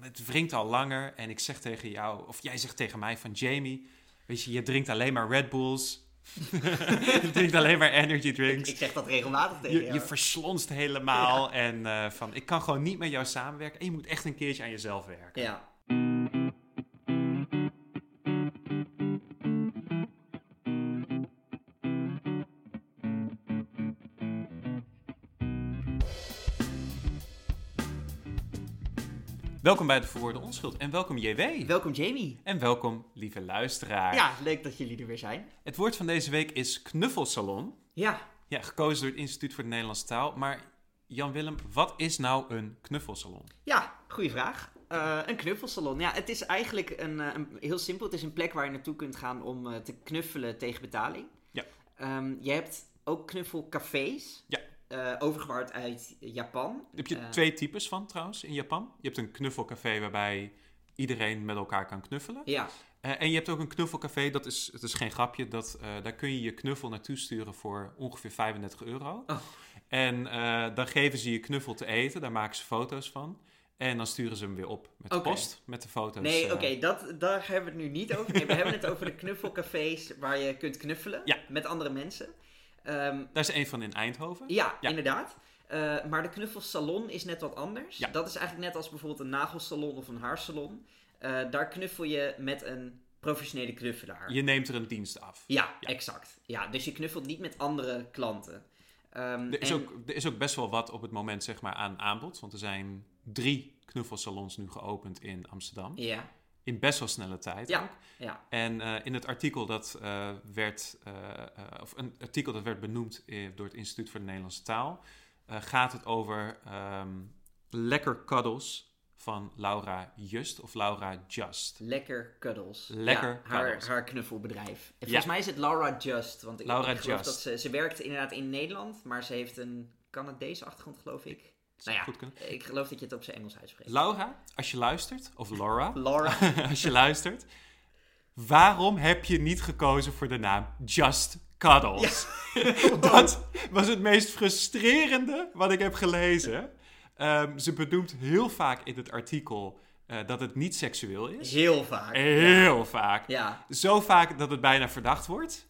het wringt al langer. En ik zeg tegen jou, of jij zegt tegen mij van Jamie, weet je, je drinkt alleen maar Red Bulls. je drinkt alleen maar energy drinks. Ik zeg dat regelmatig tegen Je, jou. je verslonst helemaal. En eh, van, ik kan gewoon niet met jou samenwerken. En je moet echt een keertje aan jezelf werken. Ja. Welkom bij de Verwoorden Onschuld. En welkom JW. Welkom Jamie. En welkom, lieve luisteraar. Ja, leuk dat jullie er weer zijn. Het woord van deze week is knuffelsalon. Ja, Ja, gekozen door het Instituut voor de Nederlandse Taal. Maar Jan-Willem, wat is nou een knuffelsalon? ja goede vraag. Eh, een knuffelsalon. Ja, het is eigenlijk een, eh, een- heel simpel. Het is een plek waar je naartoe kunt gaan om eh, te knuffelen tegen betaling. Ja. Ehm, je hebt ook knuffelcafés. Ja. Eh, overgewaaid uit Japan. Daar heb je Eh, twee types van trouwens in Japan. Je hebt een knuffelcafé waarbij iedereen met elkaar kan knuffelen. Ja, Eh, en je hebt ook een knuffelcafé, dat is, het is geen grapje, dat, eh, daar kun je je knuffel naartoe sturen voor ongeveer 35 euro. Oh. En eh, dan geven ze je knuffel te eten, daar maken ze foto's van. En dan sturen ze hem weer op met de Oké. post, met de foto's. nee, eh, oké, dat, daar hebben we het nu niet over. Nee, we hebben het over de knuffelcafés waar je kunt knuffelen Ja. met andere mensen. Ehm, Daar is één van in Eindhoven. ja, Ja. inderdaad. Eh, maar de knuffelsalon is net wat anders. Ja. Dat is eigenlijk net als bijvoorbeeld een nagelsalon of een haarsalon. Eh, daar knuffel je met een professionele knuffelaar. Je neemt er een dienst af. Ja, Ja. exact. Ja, dus je knuffelt niet met andere klanten. Ehm, Er is, en- ook, er is ook best wel wat op het moment zeg maar, aan aanbod. Want er zijn drie knuffelsalons nu geopend in Amsterdam. Ja, In best wel snelle tijd. ja, ja. En eh, in het artikel dat eh, werd, eh, eh, of een artikel dat werd benoemd eh, door het Instituut voor de Nederlandse Taal, eh, gaat het over ehm, lekker cuddles van Laura Just of Laura Just. Lekker Cuddles. Lekker ja, haar, Cuddles. haar knuffelbedrijf. En volgens mij is het Laura Just. Want ik, Laura ik geloof Just. dat ze... Ze werkt inderdaad in Nederland, maar ze heeft een Canadese achtergrond, geloof ik. Nou ja, Goed kunnen. ik geloof dat je het op zijn Engels uitspreekt. Laura, als je luistert, of Laura, Laura. als je luistert, waarom heb je niet gekozen voor de naam Just Cuddles? Dat was het meest frustrerende wat ik heb gelezen. Ehm, ze benoemt heel vaak in het artikel eh, dat het niet seksueel is. Heel vaak. Heel vaak. Ja. Zo vaak dat het bijna verdacht wordt.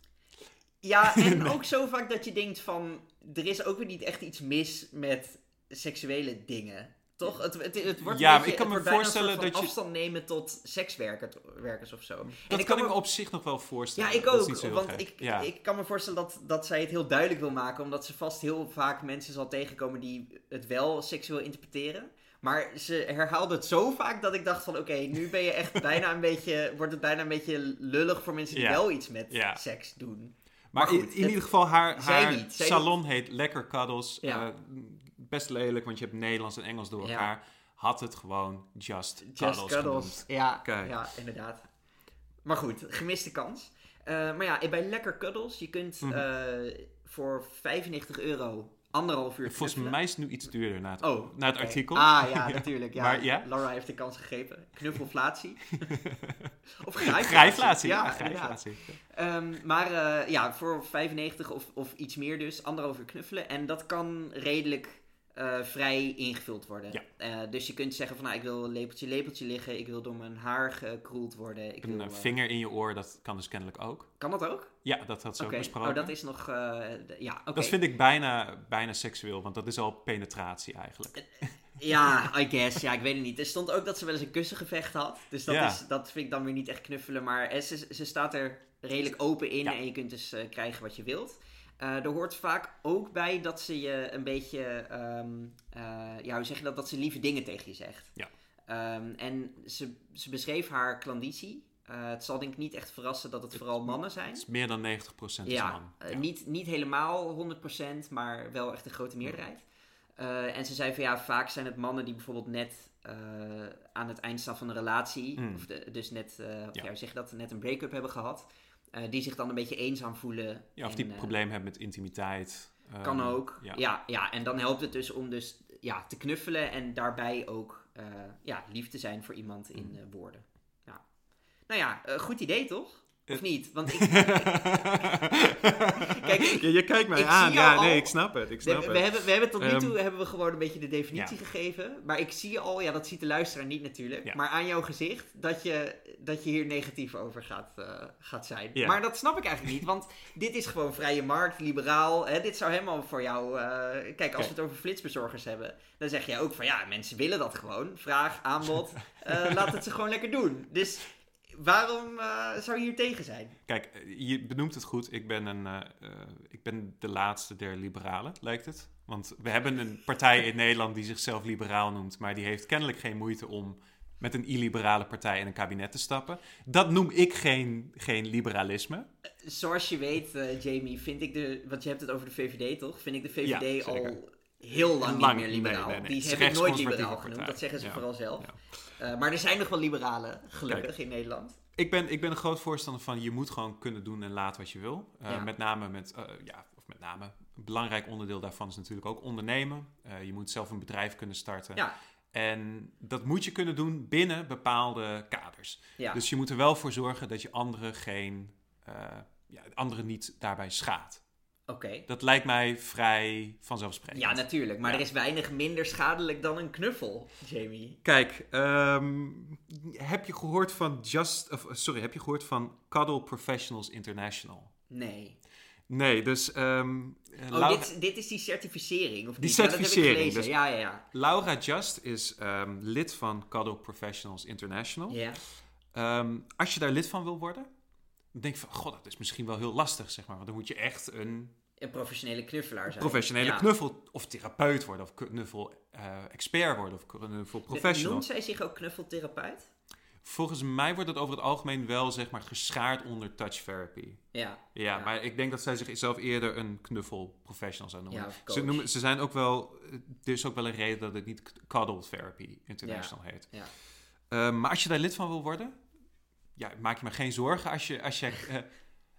Ja, en ook zo vaak dat je denkt van... Er is ook weer niet echt iets mis met seksuele dingen. Toch? Het, het, het wordt Ja, een maar beetje- ik kan me het wordt bijna een voorstellen soort van dat je- afstand nemen tot sekswerkers of zo. Dat en kan me- ik me op zich nog wel voorstellen. Ja, ik Dat is ook. niet zo heel Want gek. ik, Ja. ik kan me voorstellen dat, dat zij het heel duidelijk wil maken. Omdat ze vast heel vaak mensen zal tegenkomen die het wel seksueel interpreteren. Maar ze herhaalde het zo vaak dat ik dacht van... Oké, nu ben je echt bijna een beetje... Wordt het bijna een beetje lullig voor mensen die Ja. wel iets met Ja. seks doen. Maar Maar goed, in, in het- ieder geval, haar, zij haar niet, zij salon heet Lekker Cuddles. Ja. Eh, best lelijk, want je hebt Nederlands en Engels door Ja. elkaar. Had het gewoon Just, Just Cuddles, cuddles. genoemd. Ja, Oké. ja, inderdaad. Maar goed, gemiste kans. Eh, maar ja, bij Lekker Cuddles, je kunt Mhm. eh, voor 95 euro anderhalf uur Volgens knuffelen. mij is het nu iets duurder na het, Oh, na het oké. artikel. Ah ja, natuurlijk. Ja. Maar ja? Laura heeft de kans gegrepen. Knuffelflatie. of grijflatie. Grijflatie. Ja, Ja, inderdaad. grijflatie. Ehm, maar eh, ja, voor 95 of, of iets meer dus, anderhalf uur knuffelen. En dat kan redelijk eh, vrij ingevuld worden. Ja. Eh, dus je kunt zeggen van, nou, ik wil lepeltje, lepeltje liggen. Ik wil door mijn haar gekroeld worden. Ik Een wil, eh, eh, vinger in je oor, dat kan dus kennelijk ook. Kan dat ook? Ja, dat had ze Oké. ook besproken. Oh, dat is nog... eh, d- ja, oké. Dat vind ik bijna, bijna seksueel, want dat is al penetratie Eh, eigenlijk. Ja, I guess. Ja, ik weet het niet. Er stond ook dat ze wel eens een kussengevecht had. Dus dat, Ja. is, dat vind ik dan weer niet echt knuffelen. Maar eh, ze, ze staat er redelijk open in Ja. en je kunt dus eh, krijgen wat je wilt. Eh, er hoort vaak ook bij dat ze je een beetje, ehm, eh, ja, hoe zeg je dat, dat ze lieve dingen tegen je zegt. Ja. Ehm, en ze, ze beschreef haar klanditie. Eh, het zal denk ik niet echt verrassen dat het vooral mannen zijn. Het is meer dan 90% is man. eh, Niet, niet helemaal 100%, maar wel echt een grote meerderheid. Eh, en ze zei van ja, vaak zijn het mannen die bijvoorbeeld net eh, aan het eind staan van een relatie, Mm. of de- dus net, eh, of Ja. ja. hoe zeg je dat, net een break-up hebben gehad, eh, die zich dan een beetje eenzaam voelen. Ja, of en, die eh, probleem hebben met intimiteit. eh, Kan ook. Ja. ja. Ja, en dan helpt het dus om dus, ja, te knuffelen en daarbij ook eh, Mm. ja, lief te zijn voor iemand in eh, woorden. Ja. Nou ja, eh, goed idee toch? Of niet? Want ik, kijk, ik- Ja, je kijkt mij Ik aan. zie Ja, jou nee, al. ik snap het. Ik we, snap we het. hebben, we hebben tot nu Ehm, toe hebben we gewoon een beetje de definitie gegeven. Maar ik zie al, ja, dat ziet de luisteraar niet natuurlijk. Ja. Maar aan jouw gezicht dat je, dat je hier negatief over gaat, eh, gaat zijn. Ja. Maar dat snap ik eigenlijk niet. Want dit is gewoon vrije markt, liberaal. Hè, dit zou helemaal voor jou. eh, kijk, als we het over flitsbezorgers hebben, dan zeg je ook van ja, mensen willen dat gewoon. Vraag, aanbod. eh, laat het ze gewoon lekker doen. Dus waarom eh, zou je hier tegen zijn? Kijk, eh, je benoemt het goed. Ik ben, een, eh, eh, ik ben de laatste der liberalen, lijkt het. Want we hebben een partij in Nederland die zichzelf liberaal noemt, maar die heeft kennelijk geen moeite om met een illiberale partij in een kabinet te stappen. Dat noem ik geen, geen liberalisme. Zoals je weet, eh, Jamie, vind ik de. Want je hebt het over de VVD toch? Vind ik de Ja, VVD zeker. al heel lang, Lang, niet meer nee, liberaal. nee, nee. Het Die is hebben een nooit rechtsconservatieve liberaal genoemd, partij. dat zeggen ze Ja. vooral zelf. Eh, maar er zijn nog wel liberalen, gelukkig, in Nederland. Ik ben, ik ben een groot voorstander van je moet gewoon kunnen doen en laten wat je wil. Eh, Ja. Met name met, eh, ja, of met name, een belangrijk onderdeel daarvan is natuurlijk ook ondernemen. Eh, je moet zelf een bedrijf kunnen starten. Ja. En dat moet je kunnen doen binnen bepaalde kaders. Ja. Dus je moet er wel voor zorgen dat je anderen geen, eh, ja, anderen niet daarbij schaadt. Oké. Dat lijkt mij vrij vanzelfsprekend. Ja, natuurlijk. Maar Ja. er is weinig minder schadelijk dan een knuffel, Jamie. Kijk, Ehm, heb je gehoord van Just, of, eh, sorry, heb je gehoord van Cuddle Professionals International? Nee. nee, dus ehm, Eh, Oh, Laura- dit, dit is die certificering, of Die niet? Ja, dat heb ik certificering, gelezen. dus- Ja, ja, ja. Laura Just is ehm, lid van Cuddle Professionals International. ja. Ehm, als je daar lid van wil worden, dan denk je van, god, dat is misschien wel heel lastig, zeg maar. Want dan moet je echt een Een professionele knuffelaar zijn. professionele Ja. knuffel of therapeut worden of knuffel eh, expert worden of knuffel professional. Noemt zij zich ook knuffeltherapeut? Volgens mij wordt dat over het algemeen wel zeg maar geschaard onder touch therapy. Ja. Ja, Ja. maar ik denk dat zij zichzelf eerder een knuffel professional zou noemen. Ja, of ze, coach. noemen ze zijn ook wel, er is ook wel een reden dat het niet cuddle therapy international heet. Ja. Eh, maar als je daar lid van wil worden, ja, maak je maar geen zorgen als je als jij, eh,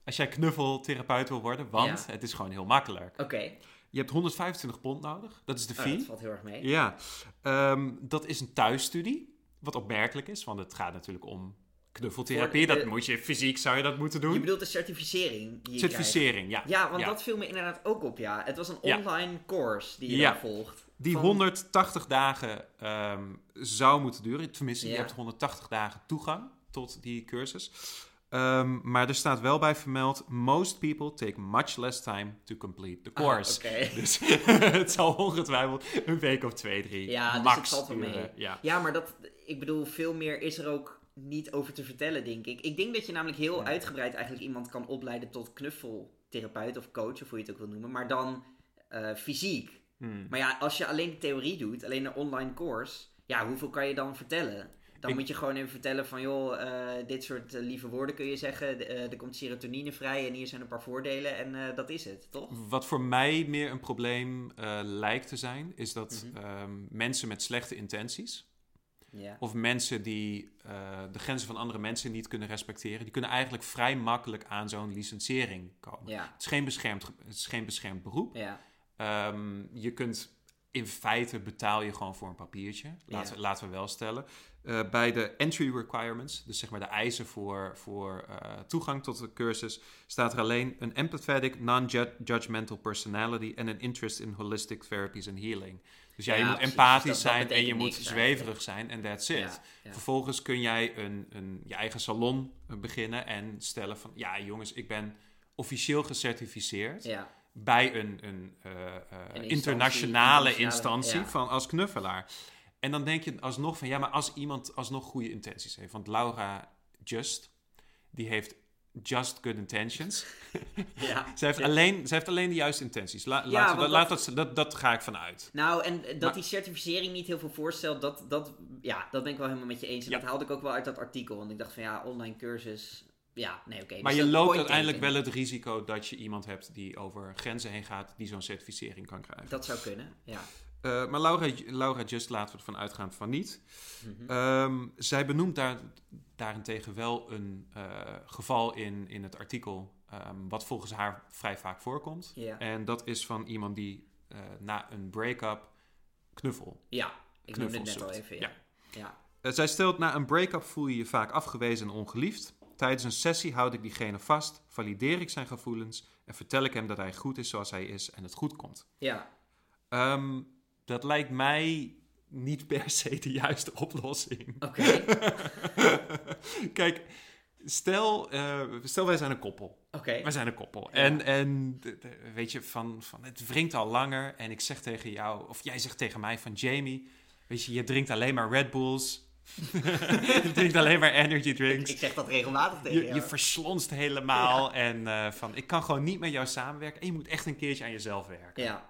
als jij knuffeltherapeut wil worden, want Ja. het is gewoon heel makkelijk. Oké. Je hebt 125 pond nodig, dat is de Oh, fee. dat valt heel erg mee. Ja, ehm, dat is een thuisstudie. Wat opmerkelijk is, want het gaat natuurlijk om knuffeltherapie. Voor de- Dat moet je fysiek, zou je dat moeten Je doen. bedoelt de certificering die je Certificering, ja. krijgt. Ja, want Hm? Ja. dat viel me inderdaad ook op, ja. Het was een Ja. online course die je Ja. daar volgt. Die Van- 180 dagen ehm, zou moeten duren. Tenminste, je Ja. hebt 180 dagen toegang tot die cursus. Ehm, maar er staat wel bij vermeld: Most people take much less time to complete the Ah, course. Oké. Dus het zal ongetwijfeld een week of twee, drie. Ja, dus max het valt wel mee. duren. Ja. Ja, maar dat, ik bedoel, veel meer is er ook niet over te vertellen, denk ik. Ik denk dat je namelijk heel uitgebreid eigenlijk iemand kan opleiden tot knuffeltherapeut of coach, of hoe je het ook wil noemen, maar dan eh, fysiek. Hmm. Maar ja, als je alleen de theorie doet, alleen een online course, ja, hoeveel kan je dan vertellen? Dan Ik- moet je gewoon even vertellen van, joh, eh, dit soort eh, lieve woorden kun je zeggen. De- eh, er komt serotonine vrij en hier zijn een paar voordelen en eh, dat is het, toch? Wat voor mij meer een probleem eh, lijkt te zijn, is dat ehm, mensen met slechte intenties Ja. of mensen die eh, de grenzen van andere mensen niet kunnen respecteren, die kunnen eigenlijk vrij makkelijk aan zo'n licentiering komen. Ja. Het, is geen beschermd, ge- het is geen beschermd beroep. Ja. Ehm, je kunt in feite betaal je gewoon voor een papiertje. Laten, Ja. we- laten we wel stellen. Eh, bij de entry requirements, dus zeg maar de eisen voor, voor eh, toegang tot de cursus, staat er alleen een empathetic, non-judgmental personality en an interest in holistic therapies and healing. Dus ja, Ja, je moet precies. empathisch Dus dat- dat zijn en je betekent moet niks eigenlijk. zweverig zijn en that's it. Ja, ja. Vervolgens kun jij een, een, je eigen salon eh, beginnen en stellen van, ja jongens, ik ben officieel gecertificeerd Ja. bij een, een, eh, eh, internationale instantie, internationale, instantie ja. van, als knuffelaar. En dan denk je alsnog van ja, maar als iemand alsnog goede intenties heeft. Want Laura Just, die heeft just good intentions. ja. zij, heeft alleen, zij heeft alleen de juiste intenties. La- laten we want dat, dat- laat dat, dat, dat ga ik vanuit. Nou, en eh, dat Maar- die certificering niet heel veel voorstelt, dat, dat, ja, dat ben ik wel helemaal met je eens. En Ja. dat haalde ik ook wel uit dat artikel, want ik dacht van ja, online cursus, ja, nee, oké. Maar dus je dat loopt point uiteindelijk wel taken, het risico dat je iemand hebt die over grenzen heen gaat, die zo'n certificering kan krijgen. Dat zou kunnen, ja. Eh, maar Laura, Laura Just laten we ervan uitgaan van niet. Mhm. Ehm, zij benoemt daar, daarentegen wel een eh, geval in, in het artikel, ehm, wat volgens haar vrij vaak voorkomt. Ja, En dat is van iemand die eh, na een break-up knuffel. ja ik noemde het net knuffels al zoekt. even, ja. Ja. ja. Eh, zij stelt, na een break-up voel je je vaak afgewezen en ongeliefd. Tijdens een sessie houd ik diegene vast, valideer ik zijn gevoelens en vertel ik hem dat hij goed is zoals hij is en het goed komt. Ja. Ehm, dat lijkt mij niet per se de juiste oplossing. Oké. Kijk, stel, eh, stel wij zijn een koppel. Oké. Wij zijn een koppel. En, en de- de- weet je, van, van, het drinkt al langer. En ik zeg tegen jou, of jij zegt tegen mij van Jamie, weet je, je drinkt alleen maar Red Bulls. je drinkt alleen maar energy drinks. Ik zeg dat regelmatig tegen Je, jou. je verslonst helemaal. En eh, van, ik kan gewoon niet met jou samenwerken. En je moet echt een keertje aan jezelf werken. Ja.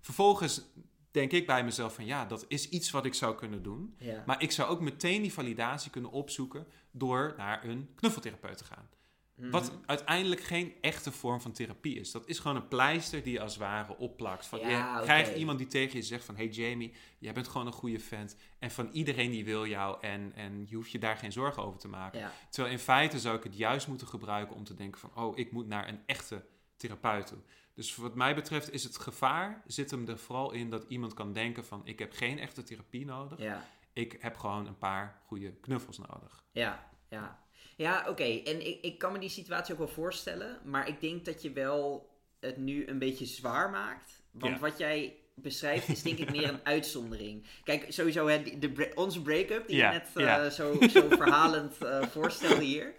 Vervolgens denk ik bij mezelf van, ja, dat is iets wat ik zou kunnen doen. Ja. Maar ik zou ook meteen die validatie kunnen opzoeken door naar een knuffeltherapeut te gaan. Mhm. Wat uiteindelijk geen echte vorm van therapie is. Dat is gewoon een pleister die je als het ware opplakt. Van, Ja, je oké. krijgt iemand die tegen je zegt van... Hey Jamie, jij bent gewoon een goede vent. En van iedereen die wil jou. En, en je hoeft je daar geen zorgen over te maken. Ja. Terwijl in feite zou ik het juist moeten gebruiken om te denken van... Oh, ik moet naar een echte therapeut toe. Dus wat mij betreft is het gevaar... Zit hem er vooral in dat iemand kan denken van... Ik heb geen echte therapie nodig. Ja. Ik heb gewoon een paar goede knuffels nodig. Ja, ja. Ja, oké. En ik, ik kan me die situatie ook wel voorstellen. Maar ik denk dat je wel het nu een beetje zwaar maakt. Want Ja. wat jij beschrijft is denk ik meer een uitzondering. Kijk, sowieso hè, die- de, bre- onze break-up die Ja, je net eh, ja. zo, zo verhalend eh, voorstelde hier.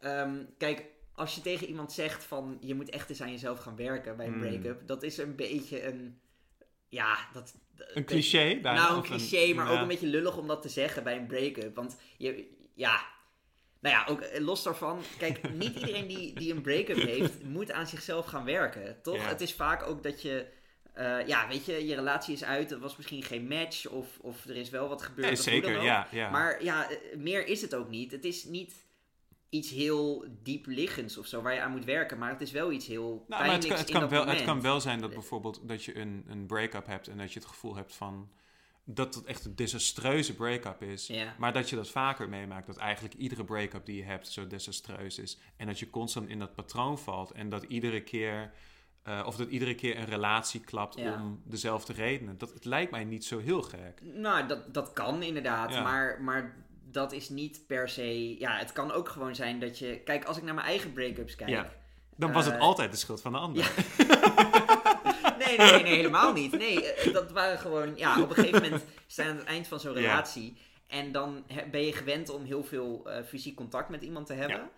Ehm, kijk, als je tegen iemand zegt van je moet echt eens aan jezelf gaan werken bij een Hmm. break-up. Dat is een beetje een... Ja, dat... Een cliché? bijna, Nou, een of cliché, maar ook ja. een beetje lullig om dat te zeggen bij een break-up. Want je, ja, nou ja, ook eh, los daarvan. Kijk, niet iedereen die, die een break-up heeft, moet aan zichzelf gaan werken, toch? Ja. Het is vaak ook dat je, eh, ja, weet je, je relatie is uit, er was misschien geen match of, of er is wel wat gebeurd. Nee, of hoe dan zeker, ook. ja, ja. Maar ja, eh, meer is het ook niet. Het is niet iets heel diepliggends of zo waar je aan moet werken, maar het is wel iets heel Nou, maar het, kan, pijnlijks het, in kan dat wel, het moment. kan wel zijn dat bijvoorbeeld dat je een, een break-up hebt en dat je het gevoel hebt van dat het echt een desastreuze break-up is. Ja. Maar dat je dat vaker meemaakt, dat eigenlijk iedere break-up die je hebt zo desastreus is. En dat je constant in dat patroon valt en dat iedere keer, eh, of dat iedere keer een relatie klapt Ja. om dezelfde redenen. Dat het lijkt mij niet zo heel gek. Nou, dat, dat kan inderdaad, Ja. maar, maar dat is niet per se... Ja, het kan ook gewoon zijn dat je... Kijk, als ik naar mijn eigen break-ups kijk... Ja. Dan was het Eh, altijd de schuld van de ander. Nee, nee, nee, nee, helemaal niet. Nee, eh, dat waren gewoon... Ja, op een gegeven moment staan aan het eind van zo'n Ja. relatie... En dan he- ben je gewend om heel veel eh, fysiek contact met iemand te hebben.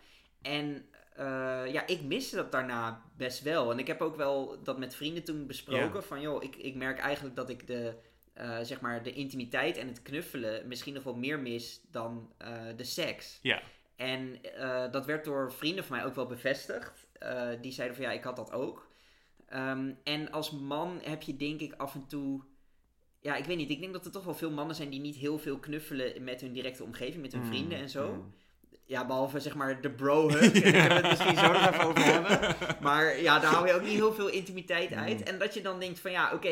En eh, ja, ik miste dat daarna best wel. En ik heb ook wel dat met vrienden toen besproken. Ja. Van joh, ik, ik merk eigenlijk dat ik de, eh, zeg maar de intimiteit en het knuffelen misschien nog wel meer mis dan eh, de seks. Ja. En eh, dat werd door vrienden van mij ook wel bevestigd. Eh, die zeiden van ja, ik had dat ook. Ehm, en als man heb je denk ik af en toe... Ja, ik weet niet. Ik denk dat er toch wel veel mannen zijn die niet heel veel knuffelen met hun directe omgeving, met hun Mm, vrienden en zo. mm. Ja, behalve zeg maar de bro-hug. Daar kunnen we het misschien zo nog even over hebben. Maar ja, daar haal je ook niet heel veel intimiteit Mm. uit. En dat je dan denkt van ja, oké,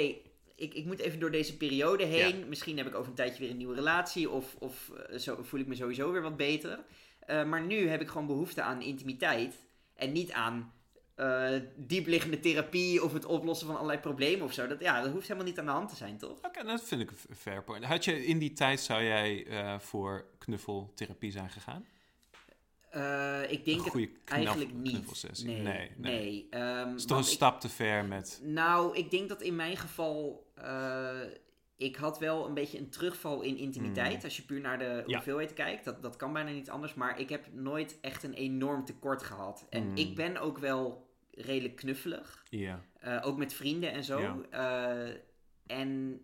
ik, ik moet even door deze periode heen. Misschien heb ik over een tijdje weer een nieuwe relatie. Of, of eh, zo, voel ik me sowieso weer wat beter. Eh, maar nu heb ik gewoon behoefte aan intimiteit. En niet aan eh, diepliggende therapie of het oplossen van allerlei problemen of zo. Dat, ja, dat hoeft helemaal niet aan de hand te zijn, toch? Oké, nou, dat vind ik een f- fair point. Had je in die tijd, zou jij eh, voor knuffeltherapie zijn gegaan? Eh, ik denk een het goede knaf- eigenlijk niet. knuffelsessie. Nee, nee. Ehm, Het is toch want een ik- stap te ver met... Nou, ik denk dat in mijn geval. eh, ik had wel een beetje een terugval in intimiteit. Hmm. Als je puur naar de Ja. hoeveelheid kijkt. Dat, dat kan bijna niet anders. Maar ik heb nooit echt een enorm tekort gehad. En Mm. ik ben ook wel redelijk knuffelig. Ja. Eh, ook met vrienden en zo. Eh, en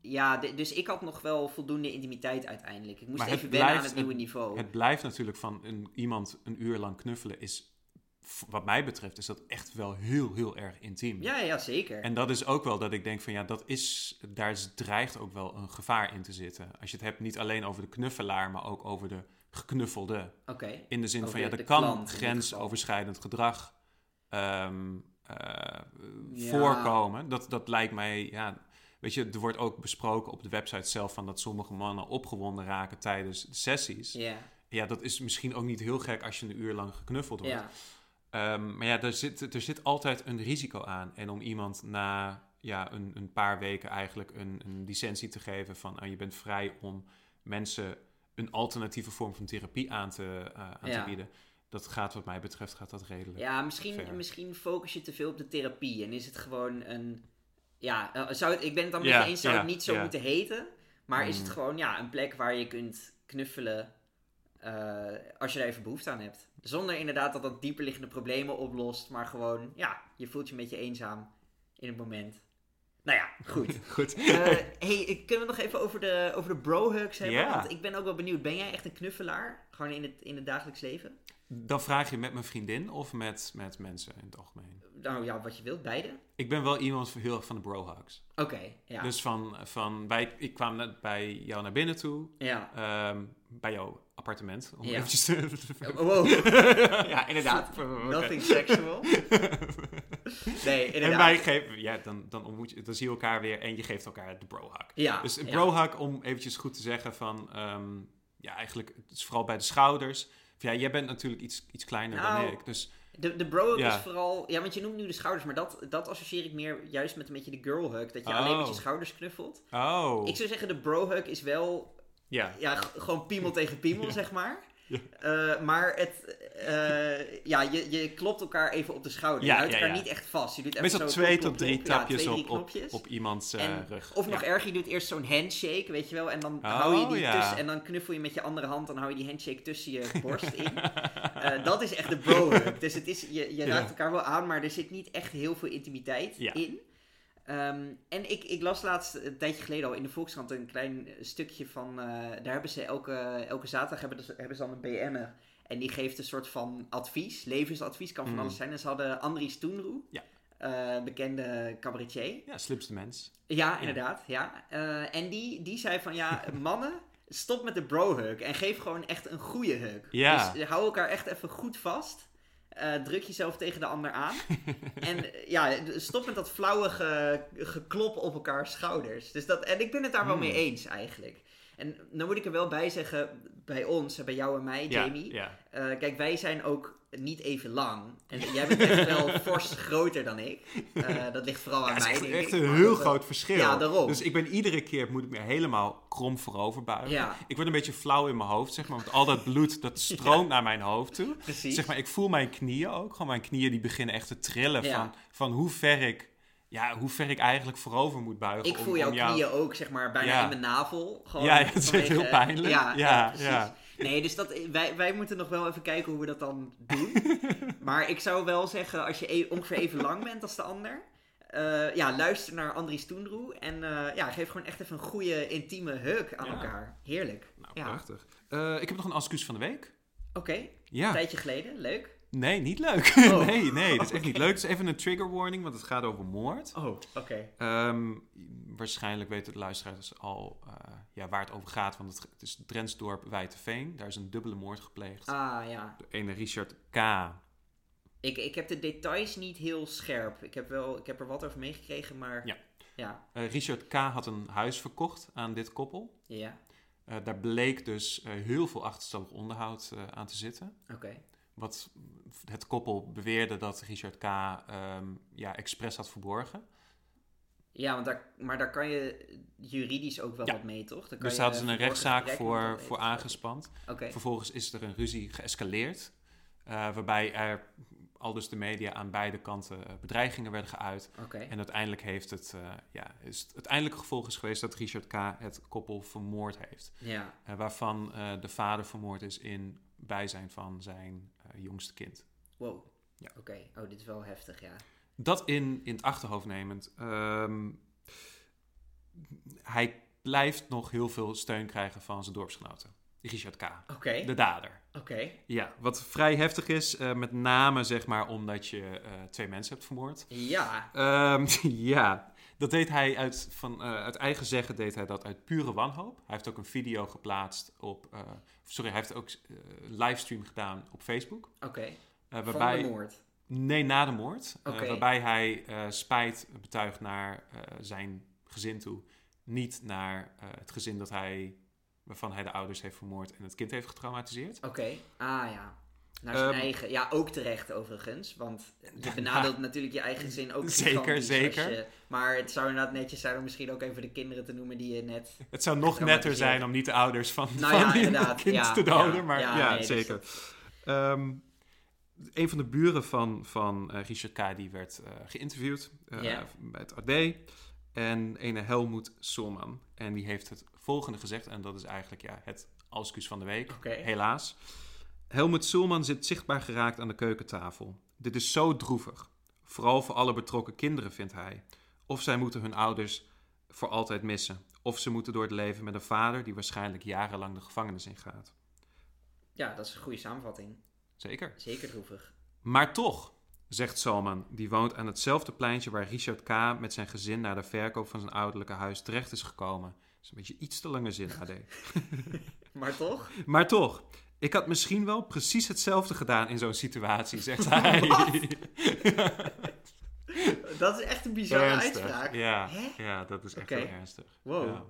ja, de- dus ik had nog wel voldoende intimiteit uiteindelijk. Ik moest Maar het even wennen aan blijft het nieuwe niveau. Het blijft natuurlijk van een, iemand een uur lang knuffelen is... f- Wat mij betreft is dat echt wel heel, heel erg intiem. ja, ja, zeker. En dat is ook wel dat ik denk van ja, dat is, daar is- dreigt ook wel een gevaar in te zitten. Als je het hebt niet alleen over de knuffelaar, maar ook over de geknuffelde. Oké. In de zin Over van ja, de er klant in kan dit grensoverschrijdend gedrag ehm, eh, Ja. voorkomen. Dat, dat lijkt mij, ja, weet je, er wordt ook besproken op de website zelf van dat sommige mannen opgewonden raken tijdens de sessies. Ja, Ja, dat is misschien ook niet heel gek als je een uur lang geknuffeld wordt. ja, Ehm, maar ja, er zit, er zit altijd een risico aan. En om iemand na ja, een, "Oh, een paar weken eigenlijk een, een licentie te geven van ah, je bent vrij om mensen een alternatieve vorm van therapie aan te, eh, aan Ja. te bieden. Dat gaat wat mij betreft gaat dat redelijk. Ja, misschien, Fair. misschien focus je te veel op de therapie en is het gewoon een. Ja, eh, zou het, ik ben het dan met Ja, je eens, zou ja, het niet zo ja. moeten heten. Maar is het Mm. gewoon ja, een plek waar je kunt knuffelen eh, als je er even behoefte aan hebt. Zonder inderdaad dat dat dieperliggende problemen oplost, maar gewoon, ja, je voelt je een beetje eenzaam in het moment. Nou ja, goed. Goed. Eh, hey, ik- kunnen we nog even over de, over de bro-hugs hebben? Ja. Want ik ben ook wel benieuwd. Ben jij echt een knuffelaar? Gewoon in het, in het dagelijks leven? Dan vraag je met mijn vriendin of met, met mensen in het algemeen. Nou ja, wat je wilt, beide. Ik ben wel iemand van- heel erg van de brohugs. Oké, ja. Dus van, van wij, ik kwam net bij jou naar binnen toe. Ja. ehm, bij jouw appartement. Om Ja. eventjes te... Oh, Wow, ja, inderdaad. Oké. nothing sexual. Nee, inderdaad. En wij geven, ja, dan, dan, ontmoet je, dan zie je elkaar weer en je geeft elkaar de brohug. Ja, Dus een ja. brohug, om eventjes goed te zeggen van, ehm, ja, eigenlijk, het is vooral bij de schouders. Of Ja, jij bent natuurlijk iets, iets kleiner Nou. dan ik, dus De, de bro hug Ja. is vooral... Ja, want je noemt nu de schouders, maar dat, dat associeer ik meer juist met een beetje de girl hug. Dat je alleen met je Oh. schouders knuffelt. oh, Ik zou zeggen, de bro hug is wel ja, ja, g- gewoon piemel tegen piemel, zeg maar. Eh, maar het, eh, ja, je, je klopt elkaar even op de schouder. Ja, je houdt ja, elkaar ja. niet echt vast. Je doet even meestal zo twee klop, klop, tot drie klop. Ja, tapjes twee, drie op, op, knopjes. op iemands eh, En- rug. Of nog Ja. erger, je doet eerst zo'n handshake, weet je wel. En dan Oh, hou je die ja. tussen. En dan knuffel je met je andere hand. Dan hou je die handshake tussen je borst in. Eh, dat is echt de bro hug. Dus het is, je, je Ja. raakt elkaar wel aan, maar er zit niet echt heel veel intimiteit Ja. in. Ehm, en ik, ik las laatst een tijdje geleden al in de Volkskrant een klein stukje van. eh, daar hebben ze elke, elke zaterdag hebben, ze- hebben ze dan een BN'er. En die geeft een soort van advies, levensadvies, kan van Mm. alles zijn. En ze hadden Andries Toenroe, Ja. eh, bekende cabaretier. Ja, slimste mens. Ja, inderdaad. Ja. Eh, en die, die zei van ja, mannen, stop met de bro-hug en geef gewoon echt een goede hug. Ja. Dus hou elkaar echt even goed vast. Eh, druk jezelf tegen de ander aan. en eh, ja, stop met dat flauwe ge- geklop op elkaar schouders. Dus dat, en ik ben het daar wel Hmm. mee eens eigenlijk. En dan moet ik er wel bij zeggen, bij ons, bij jou en mij, Ja, Jamie. ja. Eh, kijk, wij zijn ook niet even lang. En jij bent echt wel fors groter dan ik. Eh, dat ligt vooral aan Ja, het is mij, echt, denk echt ik. een Maar heel dat- groot verschil. Ja, daarom. Dus ik ben iedere keer, moet ik me helemaal krom voorover buigen. Ja. Ik word een beetje flauw in mijn hoofd, zeg maar. Want al dat bloed, dat stroomt naar mijn hoofd toe. Precies. Zeg maar, ik voel mijn knieën ook. Gewoon mijn knieën die beginnen echt te trillen Ja. van, van hoe ver ik... Ja, hoe ver ik eigenlijk voorover moet buigen. Ik om- voel om jouw jou- knieën ook, zeg maar, bijna Ja. in mijn navel. Gewoon Ja, ja, het is echt vanwege- heel pijnlijk. Ja, ja, Ja, precies. ja. Nee, dus dat, wij, wij moeten nog wel even kijken hoe we dat dan doen. maar ik zou wel zeggen, als je e- ongeveer even lang bent als de ander... eh, ja, luister naar Andries Toendroe en eh, ja, geef gewoon echt even een goede intieme huk aan Ja. elkaar. Heerlijk. Nou, ja. Oké, prachtig. Eh, ik heb nog een excuus van de week. een Ja. tijdje geleden. Leuk. Nee, niet leuk. Oh. nee, nee, dat is echt niet leuk. Het is even een trigger warning, want het gaat over moord. Oh, oké. Ehm, waarschijnlijk weten de luisteraars al eh, ja, waar het over gaat, want het, het is Drensdorp Wijtenveen. Daar is een dubbele moord gepleegd. Ah, ja. De ene Richard K. Eh, Ik, ik heb de details niet heel scherp. Ik heb, wel, ik heb er wat over meegekregen, maar... Ja. Ja, Eh, Richard K. had een huis verkocht aan dit koppel. ja. Eh, daar bleek dus eh, heel veel achterstallig onderhoud eh, aan te zitten. oké. Wat het koppel beweerde dat Richard K. ehm, ja, expres had verborgen. Ja, want daar, maar daar kan je juridisch ook wel Ja. wat mee, toch? Dan Dus kan je eh, daar hadden ze een verborgen rechtszaak gebrek voor, nog voor wel even- aangespand. Oké, Vervolgens is er een ruzie geëscaleerd, eh, waarbij er al dus de media aan beide kanten eh, bedreigingen werden geuit. oké. En uiteindelijk heeft het, eh, ja, is het uiteindelijke gevolg is geweest dat Richard K. het koppel vermoord heeft. Ja, Eh, waarvan eh, de vader vermoord is in bijzijn van zijn eh, jongste kind. wow. Ja. Oké, oh, dit is wel heftig, ja. Dat in, in het achterhoofd nemend. ehm, hij blijft nog heel veel steun krijgen van zijn dorpsgenoten. Richard K., Oké, de dader. oké. Ja, wat vrij heftig is, eh, met name zeg maar omdat je eh, twee mensen hebt vermoord. Ja, Ehm, ja, dat deed hij uit, van, eh, uit eigen zeggen, deed hij dat uit pure wanhoop. Hij heeft ook een video geplaatst op, eh, sorry, hij heeft ook eh, livestream gedaan op Facebook. oké. eh, Van waarbij, de moord. nee, na de moord. eh, Oké. waarbij hij eh, spijt betuigt naar eh, zijn gezin toe. Niet naar eh, het gezin dat hij, waarvan hij de ouders heeft vermoord en het kind heeft getraumatiseerd. Oké, ah ja. Naar zijn Ehm, eigen. Ja, ook terecht overigens. Want je Ja, benadeelt nou, natuurlijk je eigen zin ook. Zeker, gigantisch zeker. als je- maar het zou inderdaad netjes zijn om misschien ook even de kinderen te noemen die je net. Het zou nog netter zijn om niet de ouders van, Nou van ja, die inderdaad, kind ja, te doden. ja, maar Ja, nee, dat is zeker. Ehm, een van de buren van, van eh, Richard K. die werd eh, geïnterviewd eh, Ja. bij het AD. En ene Helmoet Solman. En die heeft het volgende gezegd. En dat is eigenlijk ja, het Alskus van de week. Oké. Helaas. Helmut Sulman zit zichtbaar geraakt aan de keukentafel. Dit is zo droevig. Vooral voor alle betrokken kinderen, vindt hij. Of zij moeten hun ouders voor altijd missen. Of ze moeten door het leven met een vader die waarschijnlijk jarenlang de gevangenis ingaat. Ja, dat is een goede samenvatting. Zeker. Zeker droevig. Maar toch, zegt Salman, die woont aan hetzelfde pleintje waar Richard K. met zijn gezin na de verkoop van zijn ouderlijke huis terecht is gekomen. Dat is een beetje iets te lange zin, AD. Maar toch? Maar toch, ik had misschien wel precies hetzelfde gedaan in zo'n situatie, zegt hij. Oh, Dat is echt een bizarre uitspraak. Ja, Hè? ja, dat is echt Oké. Oh. heel ernstig. Wow. Ja.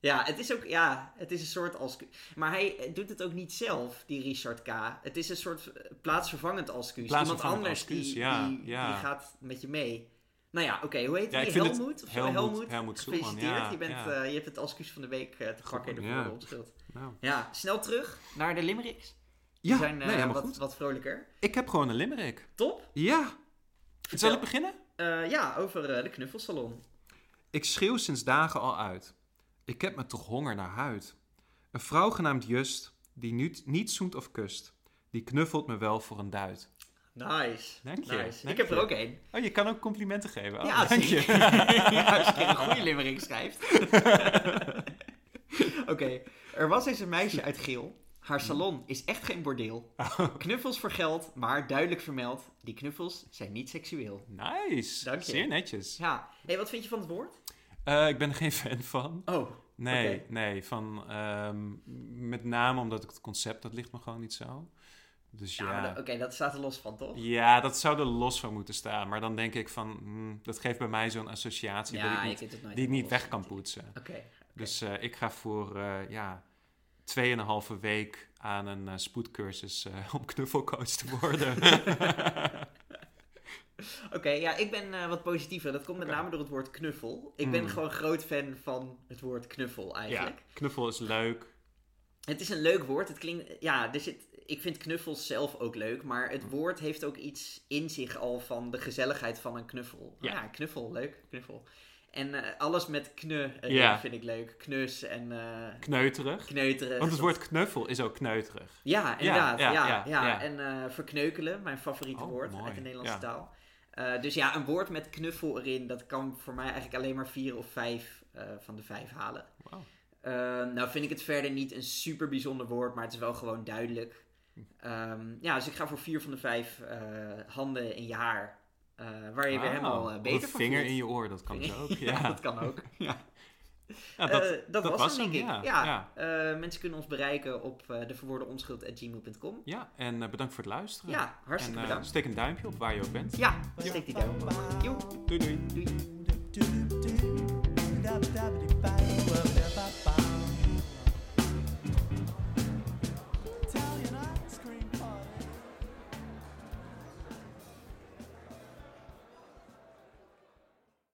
Ja, het is ook, ja, het is een soort als... Maar hij doet het ook niet zelf, die Richard K. Het is een soort eh, plaatsvervangend alscuus. Iemand Plaatsvervangend anders alscuus, die, ja, die, ja. die gaat met je mee. Nou ja, oké, hoe heet Ja, die? ik vind het- Helmoet? of zo? Helmoet- Helmoet, Helmoet Soelman, Gefeliciteerd, ja, je, bent, ja. eh, je hebt het alscuus van de week eh, te pakken in de ja. volgende onschuld. Nou. Ja, snel terug naar de limericks. Ja, Die zijn eh, nee, helemaal wat, goed. wat vrolijker. Ik heb gewoon een limerick. Top. Ja. Zal ik beginnen? Eh, ja, over eh, de knuffelsalon. Ik schreeuw sinds dagen al uit. Ik heb me toch honger naar huid. Een vrouw genaamd Just, die nu niet zoent of kust, die knuffelt me wel voor een duit. Nice. Dank je, Nice. dank ik heb er je. ook één. Oh, je kan ook complimenten geven. Oh, Ja, dank zie je. je. Als je een goede limmering schrijft. Oké, er was eens een meisje uit Geel. Haar salon is echt geen bordeel. Oh. Knuffels voor geld, maar duidelijk vermeld, die knuffels zijn niet seksueel. Nice. Dank je. Zeer netjes. Ja, hey, wat vind je van het woord? Eh, ik ben er geen fan van. Oh, Nee, Oké. nee. Van, ehm, met name omdat ik het concept, dat ligt me gewoon niet zo. Dus ja, ja. maar dat- oké, dat staat er los van, toch? Ja, dat zou er los van moeten staan. Maar dan denk ik van, hm, dat geeft bij mij zo'n associatie dat ik je niet, kunt het nooit die ik niet helemaal weg kan loszien. poetsen. Oké, Dus eh, ik ga voor eh ja, 2,5 week aan een eh, spoedcursus eh, om knuffelcoach te worden. Oké, ja, ik ben eh, wat positiever. Dat komt met Oké. name door het woord knuffel. Ik ben Mm. gewoon groot fan van het woord knuffel eigenlijk. ja, knuffel is leuk. Het is een leuk woord. Het klinkt, ja, er zit, ik vind knuffels zelf ook leuk, maar Mm. het woord heeft ook iets in zich al van de gezelligheid van een knuffel. Ja, Ja. knuffel, leuk, knuffel. En eh, alles met kne erin Ja. vind ik leuk. Knus en eh, Kneuterig. kneuteren. Want het woord knuffel is ook kneuterig. Ja, inderdaad. Ja, ja, ja, ja, ja. En eh, verkneukelen, mijn favoriete Oh, woord mooi. uit de Nederlandse Ja. taal. Eh, dus ja, een woord met knuffel erin, dat kan voor mij eigenlijk alleen maar vier of vijf eh, van de vijf halen. Wauw. Eh, nou vind ik het verder niet een super bijzonder woord, maar het is wel gewoon duidelijk. Ehm, ja, dus ik ga voor vier van de vijf eh, handen in je haar. eh, waar je weer Wauw. helemaal eh, Of beter een van vinger voelt. in je oor, dat kan dus ook. Ja, dat kan ook. Ja. Ja, dat, Eh, dat, was, was hem, hem, denk ik. ja, Ja. eh, mensen kunnen ons bereiken op eh deverwoordenonschuld.gmail.com. ja, en eh, bedankt voor het luisteren. Ja, en hartstikke eh, bedankt. steek een duimpje op waar je ook bent. Ja, steek die duim op. Joe. Doei doei. Doei. Do do do do da da da